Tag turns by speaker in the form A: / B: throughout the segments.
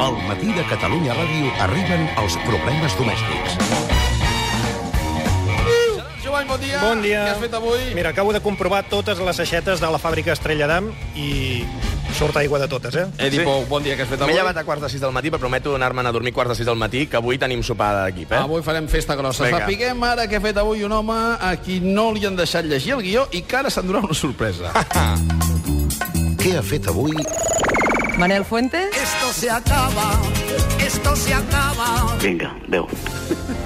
A: Al matí de Catalunya Ràdio arriben els problemes domèstics.
B: Jovany, bon dia.
C: Bon dia.
B: Què has fet avui?
C: Mira, acabo de comprovar totes les aixetes de la fàbrica Estrella d'Am i surt aigua de totes, eh?
B: Edi Pou, bon dia, què has fet
D: M'he
B: avui?
D: llevat a quarts de sis del matí, però prometo anar-me'n a dormir quarts de sis del matí, que avui tenim sopar d'equip, eh?
B: Avui farem festa grossa.
D: Vinga.
B: Sapiguem ara què ha fet avui un home a qui no li han deixat llegir el guió i que ara s'endurà una sorpresa.
A: Què ha fet avui?
E: Manel Fuentes.
F: Esto se acaba, esto se acaba.
G: Vinga, adeu.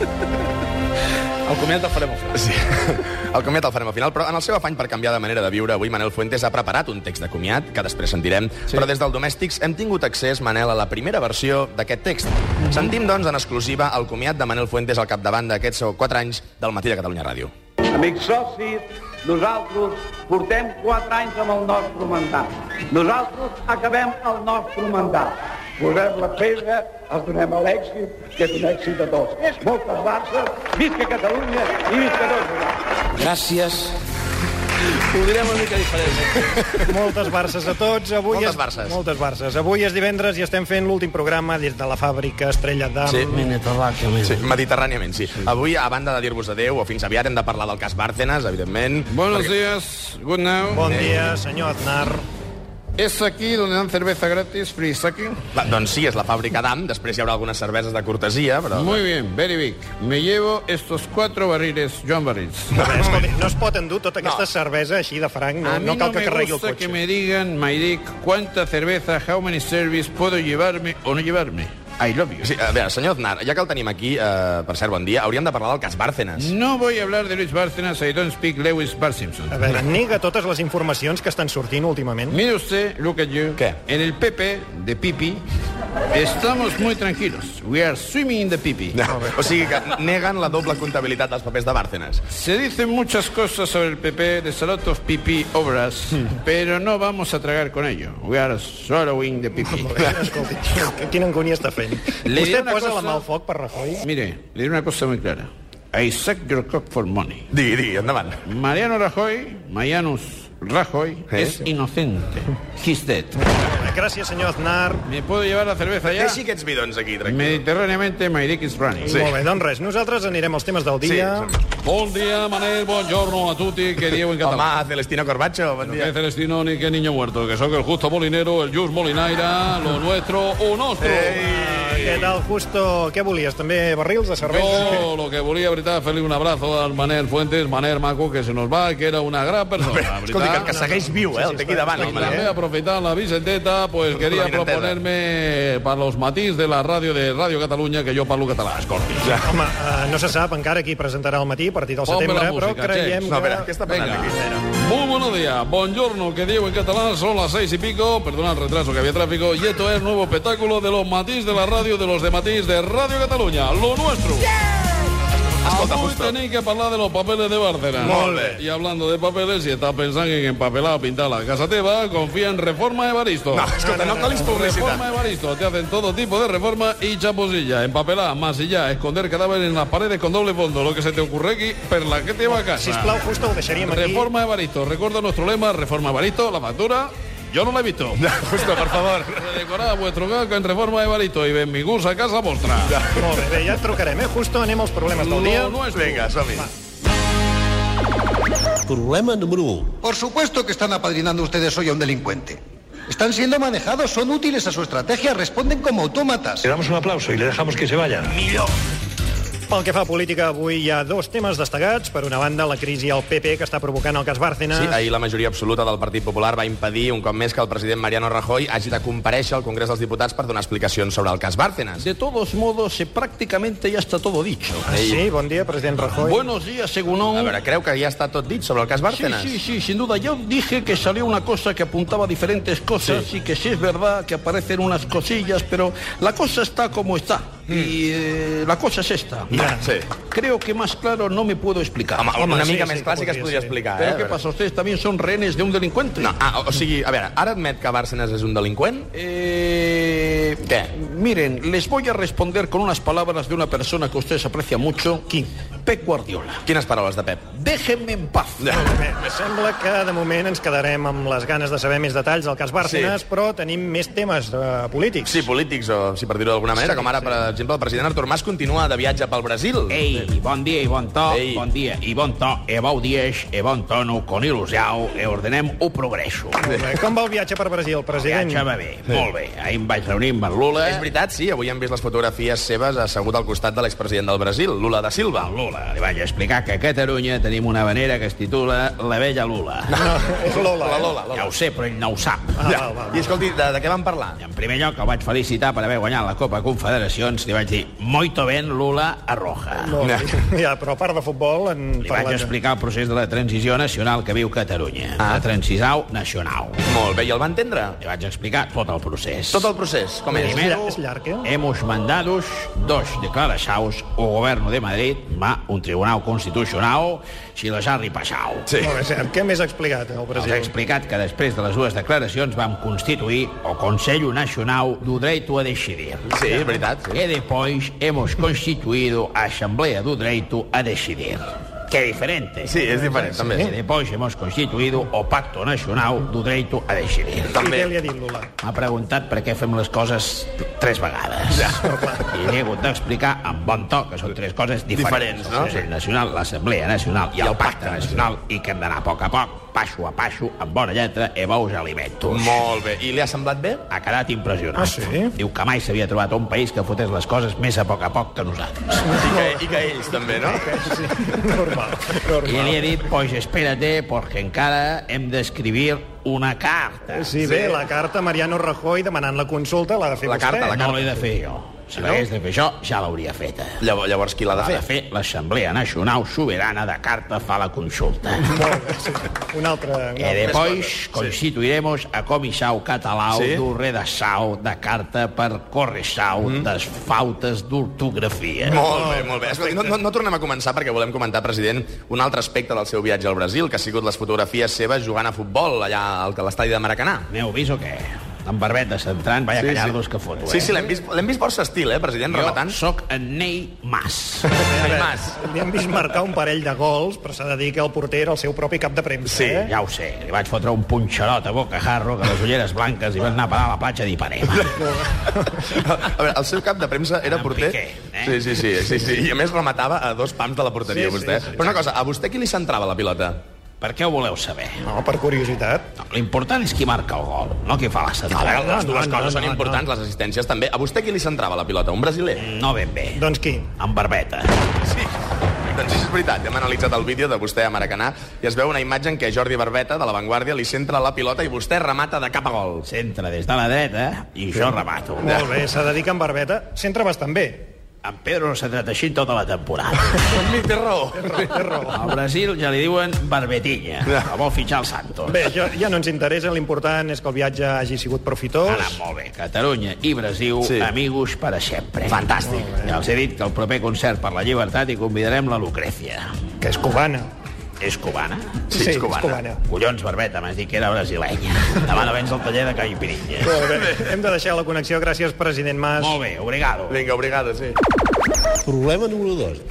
B: El comiat el farem al final.
D: Sí. El comiat el farem al final, però en el seu afany per canviar de manera de viure, avui Manel Fuentes ha preparat un text de comiat, que després sentirem, sí. però des del Domèstics hem tingut accés, Manel, a la primera versió d'aquest text. Sentim, doncs, en exclusiva el comiat de Manel Fuentes al capdavant d'aquests 4 anys del Matí de Catalunya Ràdio.
H: Amics socis, nosaltres portem 4 anys amb el nostre mandat. Nosaltres acabem el nostre mandat. Posem la pedra, els donem a l'èxit, que és un èxit a tots. Moltes gràcies, visca Catalunya i visca tots nosaltres.
B: Ho direm una mica diferent.
C: Moltes Barces a tots. Avui
D: Moltes
C: és...
D: Barces.
C: Moltes Barces. Avui és divendres i estem fent l'últim programa des de la fàbrica Estrella d'Am.
D: Sí. Sí, mediterràniament, sí. Avui, a banda de dir-vos adeu o fins aviat, hem de parlar del cas Bárcenas, evidentment.
I: Buenos días, good now.
C: Bon dia, senyor Aznar.
I: Es aquí donde dan cerveza gratis, free sake.
D: Va, doncs sí, és la fàbrica d'AM, després hi haurà algunes cerveses de cortesia, però...
I: Muy bien, very big. Me llevo estos cuatro barriles, John Barrils.
C: No, escolti, no es pot endur tota aquesta no. cervesa així de franc, no,
I: A mí
C: no
I: no,
C: cal que
I: me
C: carregui el
I: gusta que
C: cotxe.
I: me digan, my dick, cuánta cerveza, how many servings puedo llevarme o no llevarme. I love you.
D: Sí, a veure, senyor Aznar, ja que el tenim aquí, eh, per cert, bon dia, hauríem de parlar del cas Bárcenas.
I: No voy a hablar de Luis Bárcenas, I don't speak Lewis Bar Simpson.
C: A veure, nega totes les informacions que estan sortint últimament.
I: Mire usted, look at you.
D: ¿Qué?
I: En el PP, de Pipi, estamos muy tranquilos. We are swimming in the Pipi.
D: No, o sigui que neguen la doble comptabilitat dels papers de Bárcenas.
I: Se dicen muchas cosas sobre el PP de Salot of PP Obras,
C: Hmm.
I: pero no vamos a tragar con ello. We are swallowing the PP.
C: Escolti, quina angúnia està fent.
I: Li diré
C: Vostè
I: una
C: posa cosa... la
I: cosa-
C: mà al foc per Rajoy?
I: Mire, le diré una cosa muy clara. I suck your cock for money.
D: Digui, digui, endavant.
I: Mariano Rajoy, Marianus Rajoy,
D: ¿Eh?
I: es inocente. He's dead.
C: Gràcies, senyor Aznar.
I: ¿Me puedo llevar la cerveza ya?
D: Deixi aquests bidons aquí, tranquil.
I: Mediterráneamente, my dick is running.
C: Sí. Molt bé, doncs res, nosaltres anirem als temes del
D: Sí,
C: dia.
D: sembla.
J: Bon dia, Manel, buongiorno a tutti, que dieu en
D: Home,
J: català.
D: Celestino Corbacho, bon
J: Que
D: dia.
J: Celestino ni que niño muerto, que soy el justo molinero, el Jus Molinaira, lo nuestro o nostro.
C: Eh, Què tal, Justo? Què volies? També barrils de cervesa?
J: Yo lo que volia, veritat, és fer-li un abrazo al Manel Fuentes, Manel Maco, que se nos va, que era una gran persona, la
D: Escolti, que el que
J: veritat.
D: segueix viu, eh, el té aquí davant,
J: Y
D: home.
J: també
D: Eh?
J: aprofitant la Vicenteta, pues quería
D: Vicenteta.
J: proponerme para los matís de la ràdio de Ràdio Catalunya, que jo parlo català, escolti.
C: Home, eh, no se sap encara qui presentarà al matí a partir del
J: Ponme la
C: setembre, però
J: música,
C: creiem
J: James.
D: No, a veure, què
C: que...
D: està passant
J: Vinga.
D: aquí?
J: Muy buenos días, buongiorno, que digo en catalán, son las seis y pico, perdona el retraso que había tráfico, y esto es nuevo espectáculo de los Matís de la radio, de los de Matís de Radio Cataluña, lo nuestro.
D: Escolta,
J: Avui
D: Justo.
J: tenéis que hablar de los papeles de Bárcenas.
D: Molt bé.
J: Y hablando de papeles, si estás pensando en empapelar o pintar la casa teva, confía en Reforma Evaristo.
D: No, escolta, no calis publicitat.
J: Reforma Evaristo, te hacen todo tipo de reforma y chaposilla, empapelar, masillar, esconder cadáveres en las paredes con doble fondo, lo que se te ocurre aquí, perla que te va a casa.
C: Sisplau, Justo, ho deixaríem aquí.
J: Reforma Evaristo. Recuerda nuestro lema, Reforma Evaristo, la factura... Yo no la he visto.
D: Justo, per favor.
J: Redecorad vuestro gato en Reforma Evaristo y ven mi gus a casa vuestra.
C: Molt bé, bé, ja et trucarem, eh? Justo, anem als problemes del dia.
J: Lo nuestro.
D: Vinga, som-hi.
A: Problema número 1.
F: Por supuesto que están apadrinando ustedes hoy a un delincuente. Están siendo manejados, son útiles a su estrategia, responden como autómatas.
C: Pel que fa a política, avui hi ha dos temes destacats. Per una banda, la crisi al PP que està provocant el cas Bárcenas.
D: Sí, ahir la majoria absoluta del Partit Popular va impedir un cop més que el president Mariano Rajoy hagi de compareixer al Congrés dels Diputats per donar explicacions sobre el cas Bárcenas.
I: De todos modos, eh, prácticamente ya está todo dicho.
C: Ah, sí, bon dia, president Rajoy.
I: Buenos días, Segunón.
D: A veure, creu que ja està tot dit sobre el cas
I: Sí,
D: Bárcenas?
I: sí, sí, sin duda. Yo dije que salió una cosa que apuntaba a diferentes cosas y que sí es verdad que aparecen unas cosillas, pero la cosa está como está. Y eh, la cosa es esta.
D: sí.
I: Creo que más claro no me puedo explicar.
D: Home, una
C: Home, sí,
D: mica
C: sí,
D: més
C: que
D: clàssica es
C: podria
D: podria
C: ser.
D: explicar, eh?
I: pero
D: A
I: ¿qué
D: veure.
I: pasa? Ustedes también son rehenes de un delincuente.
D: No, ah, o, o sigui, a veure, ara admet que Bárcenas és un delinqüent?
I: Eh,
D: Què?
I: Miren, les voy a responder con unas palabras de una persona que ustedes aprecian mucho.
C: Qui?
I: Pep Guardiola.
D: Quines paraules de Pep?
I: Déjenme en paz.
C: Bé, me sembla que de moment ens quedarem amb les ganes de saber més detalls del cas Bárcenas,
D: Sí.
C: però tenim més temes de polítics.
D: Sí, polítics, o si per dir-ho d'alguna manera, com ara, per exemple, el president Artur Mas continua de viatge pel Brasil.
I: Ei, bon dia i bon to,
D: Ei.
I: bon dia i bon to, e bau dies, e bon tono, con il·lusió, e ordenem un progresso.
C: Molt bé. Com va el viatge per Brasil, president?
I: Viatge va bé, molt bé. Ahir em vaig reunir amb en Lula.
D: És veritat, sí, avui hem vist les fotografies seves assegut al costat de l'expresident del Brasil, Lula da Silva.
I: Amb Lula. Li vaig explicar que a Catalunya tenim una venera que es titula La Vella Lula.
C: No, és Lola.
D: La
C: eh?
D: Lola,
I: Ja
D: Lola.
I: ho sé, però ell no ho sap.
C: Ah, val, val,
D: I
C: val.
D: escolti, de, de què van parlar?
I: En primer lloc, el vaig felicitar per haver guanyat la Copa Confederacions. Li vaig dir, muito ben, Lula Arroja.
C: Molt bé. Ja, però a part de futbol... En
I: Li vaig explicar el procés de la transició nacional que viu Catalunya. Ah. La transició nacional.
D: Molt bé, i el va entendre?
I: Li vaig explicar tot el procés.
D: Tot el procés, com és?
I: Primero,
C: Es llarg, eh?
I: hemos mandado dos declaracions o gobierno de Madrid va un tribunal constitucional si les ha ripassat.
D: Sí.
C: Molt bé, sí. Què més ha explicat el
I: Els he
C: Brasil?
I: explicat que després de les dues declaracions vam constituir el Consell Nacional do Direito a Decidir.
D: Sí, és veritat. Sí.
I: Que depois hemos constituido a Asamblea do Direito a Decidir. Que diferente.
D: Sí, és diferent, també.
I: Que depois hemos constituido o Pacto Nacional do Direito a Decidir.
C: I
D: També.
C: què li ha dit Lula?
I: M'ha preguntat per què fem les coses tres vegades. Ja. I li he hagut d'explicar amb bon to que són tres coses diferents.
D: Diferents, no?
I: El Consell Nacional, l'Assemblea Nacional i, el Pacte Nacional i que hem d'anar a poc a poc, passo a passo, amb bona lletra, e bous alimentos.
D: Molt bé. I li ha semblat bé?
I: Ha quedat impressionat.
C: Ah, sí?
I: Diu que mai s'havia trobat un país que fotés les coses més a poc a poc que nosaltres.
D: I que, i que ells també, no?
C: Sí, normal.
I: I li
C: normal.
I: he dit, pues espérate, porque encara hem d'escribir una carta.
C: Sí, bé, la carta Mariano Rajoy demanant la consulta l'ha de fer
D: La
C: vostè.
D: carta, la
I: No l'he de fer jo. Si l'hagués de fer jo, ja l'hauria feta.
D: Llavors, llavors qui l'ha de
I: ha de
D: fer?
I: fer l'Assemblea Nacional Soberana de Carta fa la consulta.
C: Molt bé, sí. Un
D: Eh,
C: altre... Un
I: Que
C: altre.
I: depois constituiremos a Comissau Catalau
D: Sí.
I: do Redassau de Carta per Corressau mm. des fautes d'ortografia.
D: Molt bé, molt bé. Escolti, no, no, no tornem a començar perquè volem comentar, president, un altre aspecte del seu viatge al Brasil, que ha sigut les fotografies seves jugant a futbol allà al a l'estadi de Maracanà.
I: N'heu vist o què? En Barbet de Centrant, vaya sí, callardos sí. que foto, eh?
D: Sí, sí, l'hem vist, l'hem vist força estil, eh, president,
I: Jo
D: rematant.
I: sóc en Ney Mas.
D: Ai, Mas.
C: Li hem vist marcar un parell de gols, però s'ha de dir que el porter era el seu propi cap de premsa,
D: Sí,
C: eh?
I: Ja ho sé, li vaig fotre un punxarot a Bocajarro que les ulleres blanques i van anar a parar a la platja d'Ipanema.
D: A veure, el seu cap de premsa era
I: En
D: porter.
I: Piqué, eh?
D: Sí, sí, sí, sí, sí. I a més rematava a dos pams de la porteria,
C: Sí, sí,
D: vostè. Però una cosa, a vostè qui li centrava la pilota?
I: Per què ho voleu saber?
C: No, per curiositat.
I: No, L'important és qui marca el gol, no qui fa la setmana.
D: Ara, les
C: no,
D: dues
C: no,
D: coses són
C: no, no.
D: importants, les assistències també. A vostè qui li centrava la pilota? Un brasiler?
I: No ben bé.
C: Doncs qui?
I: Amb barbeta.
D: Sí. Doncs és veritat, hem analitzat el vídeo de vostè a Maracanà i es veu una imatge en què Jordi Barbeta, de l'avantguàrdia, li centra la pilota i vostè remata de cap a gol.
I: S'entra des de la dreta i jo remato.
C: Molt bé, s'ha de dir que en Barbeta s'entra bastant bé.
I: En Pedro no s'ha tret així tota la temporada.
D: Mi té raó.
C: Té raó.
I: Al Brasil ja li diuen Barbetinya. El vol fitxar el Santos.
C: Bé, jo, ja no ens interessa, l'important és que el viatge hagi sigut
I: Ha
C: profitós.
I: anat molt bé. Catalunya i Brasil, sí.
D: Sí.
I: amigos para sempre. Fantàstic. Ja els he dit que el proper concert per la llibertat hi convidarem la Lucrecia.
C: Que és cubana.
I: És cubana?
D: Sí, és cubana.
I: Collons, Barbeta, m'has dit que era brasilenya. Demana vens al taller de Caipirinha.
C: Molt bé. Hem de deixar la connexió. Gràcies, president Mas.
I: Molt bé, obrigado.
D: Vinga, obrigado, sí.
G: Problema número 2.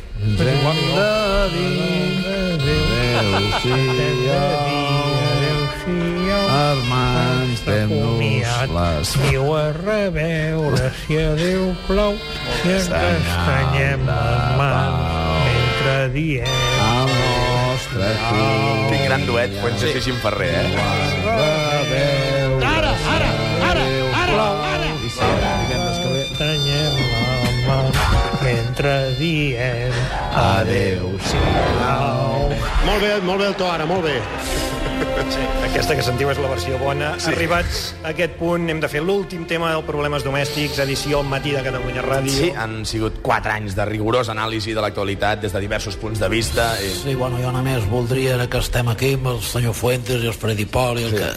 B: Armand, fem-nos les...
G: Diu a reveure, si a Déu plau, si ens castanyem les mans mentre diem.
B: El nostre fill
D: Quin gran duet, Fuentes sí. i Ximferrer, eh?
B: veure... Ara, ara, ara, ara, ara! I serà divendres que ve.
G: Castanyem les mans mentre diem. Adéu-siau.
K: Molt bé, molt bé el to ara, molt bé.
C: Sí, aquesta que sentiu és la versió bona. Sí. Arribats a aquest punt, hem de fer l'últim tema del Problemes Domèstics, edició al matí de Catalunya Ràdio.
D: Sí, han sigut 4 anys de rigorós anàlisi de l'actualitat des de diversos punts de vista. I...
G: Sí, bueno, jo només voldria que estem aquí amb el senyor Fuentes i els Freddy Pol i el sí. que...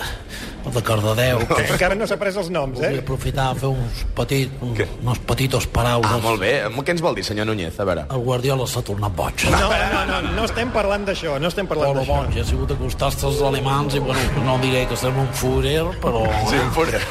L: de Cardedeu. No.
C: Encara no s'ha pres els noms, eh?
L: Vull aprofitar a fer uns petits, un, unos petitos paraules.
D: Ah, molt bé. Què ens vol dir, senyor Núñez? A veure.
L: El Guardiola s'ha tornat boig.
C: No, no, no, no, no estem parlant d'això, no estem parlant
L: Però
C: d'això.
L: boig, ha sigut acostar-se als alemans i, bueno, no diré que estem un furier, però... eh,
D: Sí, un furier.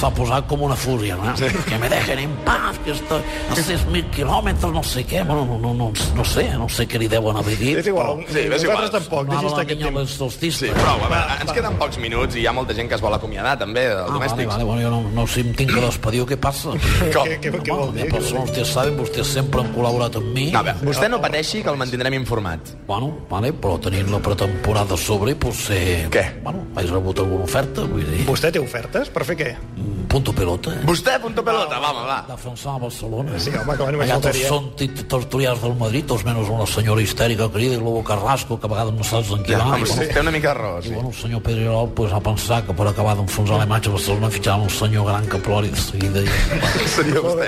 L: S'ha posat com una fúria, no? Sí. Que me dejen en paz, que estoy a 6.000 quilòmetres, no sé què. Bueno, no, no, no, no sé, no sé què li deuen haver dit.
C: És igual,
D: Sí, és igual.
C: nosaltres tampoc,
L: Mala
C: deixi estar
L: niña
C: aquest tema.
L: los solstistas.
D: Sí, prou. A veure, ens queden pocs minuts i hi ha molta gent que es vol acomiadar, també, dels
L: Ah, vale,
D: domèstics.
L: vale, bueno, yo no, no sé, em tinc que despedir, o què passa? Què
D: Com?
C: Què, què vol Ah, dir?
L: passa? Vostès saben, vostès sempre han col·laborat amb mi.
D: A veure, vostè no pateixi, que el mantindrem informat.
L: Bueno, vale, però tenint la pretemporada a sobre, potser...
D: Què?
L: Bueno, has rebut alguna oferta, vull dir...
C: Vostè té ofertes? Per fer què?
L: Mm, Punto pelota, eh?
D: Vostè, punto pelota, va, home, Ah, va.
L: Defensar a Barcelona. eh?
C: Sí, home, que només
L: Allà tots
C: faltaria.
L: són tit- tertulians del Madrid, tots menys una senyora histèrica querida i Lobo Carrasco, que a vegades no saps en qui
D: Ja,
L: va.
D: home,
L: i, bueno,
D: sí, té una mica de raó,
L: I
D: sí.
L: bueno, el senyor Pedrerol pues, ha pensat que per acabar d'enfonsar la imatge de Barcelona fitxava un senyor gran que plori de seguida. I...
D: Seria vostè.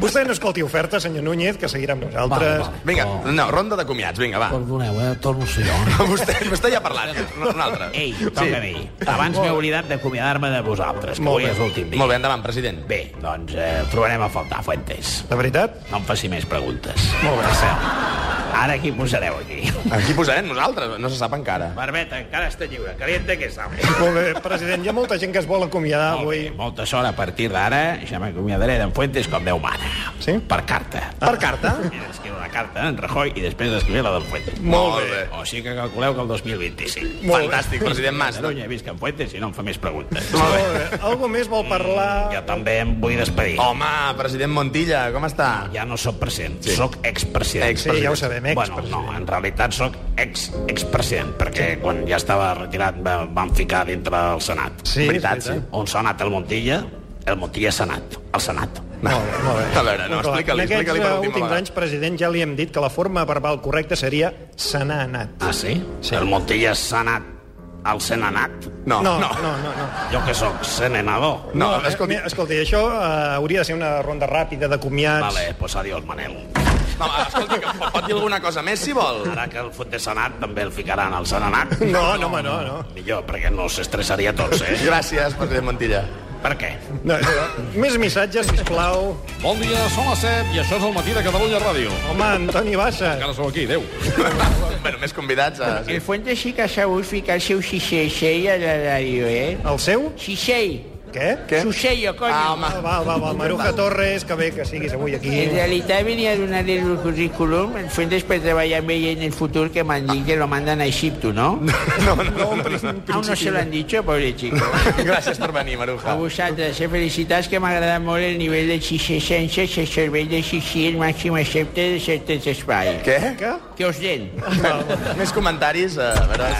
C: Vostè no escolti ofertes, senyor Núñez, que seguirà amb
L: Vale,
C: nosaltres.
L: vale.
D: Vinga, no, ronda de comiats, vinga, va.
L: Perdoneu, eh? Torno a ser jo.
D: Vostè, vostè ja ha parlat, no, un altre.
I: Ei, toca a mi. Abans m'he oblidat d'acomiadar-me de vosaltres, que
C: Molt
I: avui
C: bé.
I: és l'últim dia.
D: Molt bé, endavant, president.
I: Bé, doncs eh, trobarem a faltar Fuentes.
C: De veritat?
I: No em faci més preguntes. Molt bé. Ara qui posareu aquí?
D: Aquí posarem nosaltres, no se sap encara.
I: Barbeta, encara està lliure. Caliente que està.
C: Molt bé, eh, president, hi ha molta gent que es vol acomiadar
I: Molt
C: avui.
I: bé, molta sort a partir d'ara. Ja m'acomiadaré d'en Fuentes com Déu mana.
C: Sí?
I: Per carta.
C: Per carta?
I: Mira, Escriu la carta en Rajoy i després escriuré la d'en Fuentes.
D: Molt bé.
I: O sigui que calculeu que el 2025.
D: Molt bé. Fantàstic, president Mas.
I: Catalunya he vist que en Fuentes i no em fa més preguntes.
D: Molt bé. Mm,
C: Molt bé. Algú més vol
I: Jo
C: parlar?
I: també em vull despedir.
D: Home, president Montilla, com està?
I: Ja no sóc president, sí. sóc expresident.
D: Ex-
C: Sí, ja ho sabem, ex.
I: Bueno, no, en realitat sóc ex expresident, perquè quan ja estava retirat me van ficar dintre del Senat.
C: Sí,
I: veritat,
C: és veritat.
I: On s'ha anat el Montilla, el Montilla s'ha anat, al Senat.
C: Molt bé, molt bé.
D: A veure, no,
C: En
D: explica-li,
C: aquests
D: explica-li per
C: eh,
D: última
C: últims
D: vegada.
C: anys, president, ja li hem dit que la forma verbal correcta seria se n'ha anat.
I: Ah, sí? sí. El Montilla s'ha anat al Senat.
D: No,
C: No,
D: no,
C: no, no. no, no.
I: Jo que sóc senenador.
D: no,
C: eh,
D: escolti,
C: mira, escolti, això eh, hauria de ser una ronda ràpida de comiats.
I: Vale, pues adiós, Manel.
C: eh.
D: no, escolti, que pot- pot dir alguna cosa més, si vol?
I: Ara que el fot de Senat també el ficaran al Senat.
C: No, no, home, no, no.
I: Millor, perquè no s'estressaria tots, eh?
D: Gràcies, president Montilla.
I: Per què?
C: no, no. Més missatges, sisplau.
J: Bon dia, són les 7 i això és el matí de Catalunya Ràdio.
C: Home, Antoni Bassa.
J: Encara sou aquí, adeu.
D: bueno, més convidats. eh, A...
H: El Fuentes sí que s'ha volgut ficar el seu xixeixell a la ràdio, eh?
C: El seu?
H: Xixell.
C: Què?
D: Què?
H: Xuxello, coño.
D: Ah,
C: Va,
D: home.
C: va, va, va, Maruja Torres, que bé que siguis avui aquí.
H: En realitat venia a donar-li el currículum, el Fuentes per treballar amb ell en el futur que m'han dit que lo mandan a Egipto, no?
D: No, no, no, no, no.
H: Aún no se lo han dicho, pobre chico.
D: Gràcies per venir,
H: A
D: Maruja.
H: vosaltres, eh? Felicitats que m'ha agradat molt el nivell de xixessència, el cervell de xixi, el màxim accepte de certes espais.
D: Què?
C: Què?
H: Que us den.
D: Més comentaris? eh, A veure...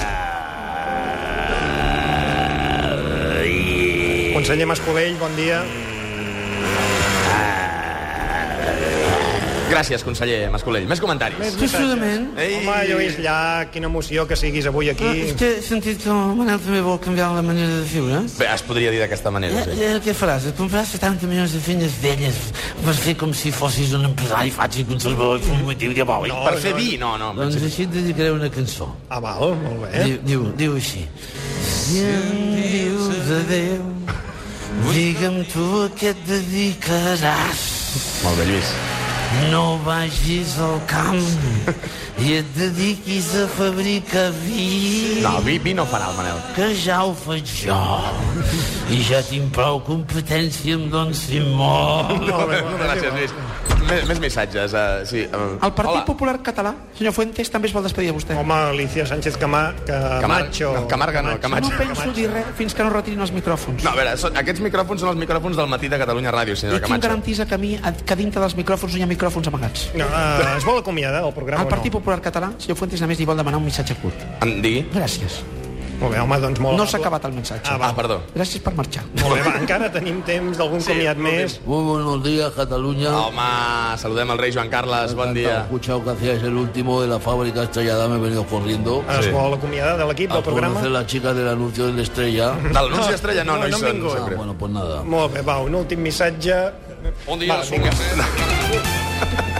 C: Conseller Mascolell, bon dia.
D: Gràcies, conseller Mascolell. Més comentaris.
M: Què sudament?
D: Ei.
C: Home, Lluís Llach, quina emoció que siguis avui
L: Ah,
C: aquí.
M: És Ah, que he sentit que el Manel també vol canviar la manera de eh? viure.
D: Bé, es podria dir d'aquesta manera,
M: Eh,
D: sí.
M: eh, què faràs? Et compraràs 70 milions de feines velles per fer com si fossis un empresari faig i conservador i formatiu diabòlic?
D: Per fer vi, Oh, no, no.
M: Doncs així et dedicaré una cançó.
C: Ah, val, molt
M: Eh?
C: bé.
M: Diu, diu, diu així. Si em dius adéu, digue'm tu a què et dedicaràs.
D: Molt bé, Lluís.
M: No vagis al camp i et dediquis a fabricar vi,
D: No, vi, vi no farà el Manel.
M: que ja ho faig jo. I ja tinc prou competència amb Don Simó.
D: No, gràcies, Lluís. Més, més missatges. Uh, sí, uh,
H: El Partit
D: hola.
H: Popular Català, senyor Fuentes, també es vol despedir de vostè.
C: Home, Alicia Sánchez Camà, Camacho.
D: Camar- Camarga no, Camacho.
H: No penso dir res fins que no retirin els micròfons.
D: No, a veure, són, aquests micròfons són els micròfons del matí de Catalunya Ràdio,
H: I
D: senyora
H: qui em
D: Camacho.
H: garantisa que, a mi, que dintre dels micròfons no hi ha micròfons amagats?
C: No, eh, es vol acomiadar el programa
H: El Partit
C: o
H: Popular Català, senyor Fuentes, només li vol demanar un missatge curt.
D: Em digui?
H: Gràcies.
C: no? Molt bé, home, doncs molt...
H: No s'ha acabat el missatge.
C: Ah,
D: Ah,
C: va.
D: perdó.
H: Gràcies per marxar.
C: Molt bé, va, encara tenim temps d'algun sí, comiat més.
L: Muy buenos días, Cataluña.
D: Home, saludem el rei Joan Carles, bon
L: He
D: dia.
L: escuchado que hacías el último de la fábrica estrellada, me he venido corriendo.
C: Es vol acomiadar de l'equip,
L: A
C: del Ah, programa?
L: conocer la chica del anuncio de la estrella.
D: De l'anunci estrella no,
C: no,
D: no, hi
C: no hem
D: són.
C: vingut.
D: em sap
L: Ah,
D: greu.
L: bueno, pues nada.
C: Molt bé, va, un últim missatge.
J: Bon dia,
C: Va,
J: són les 7.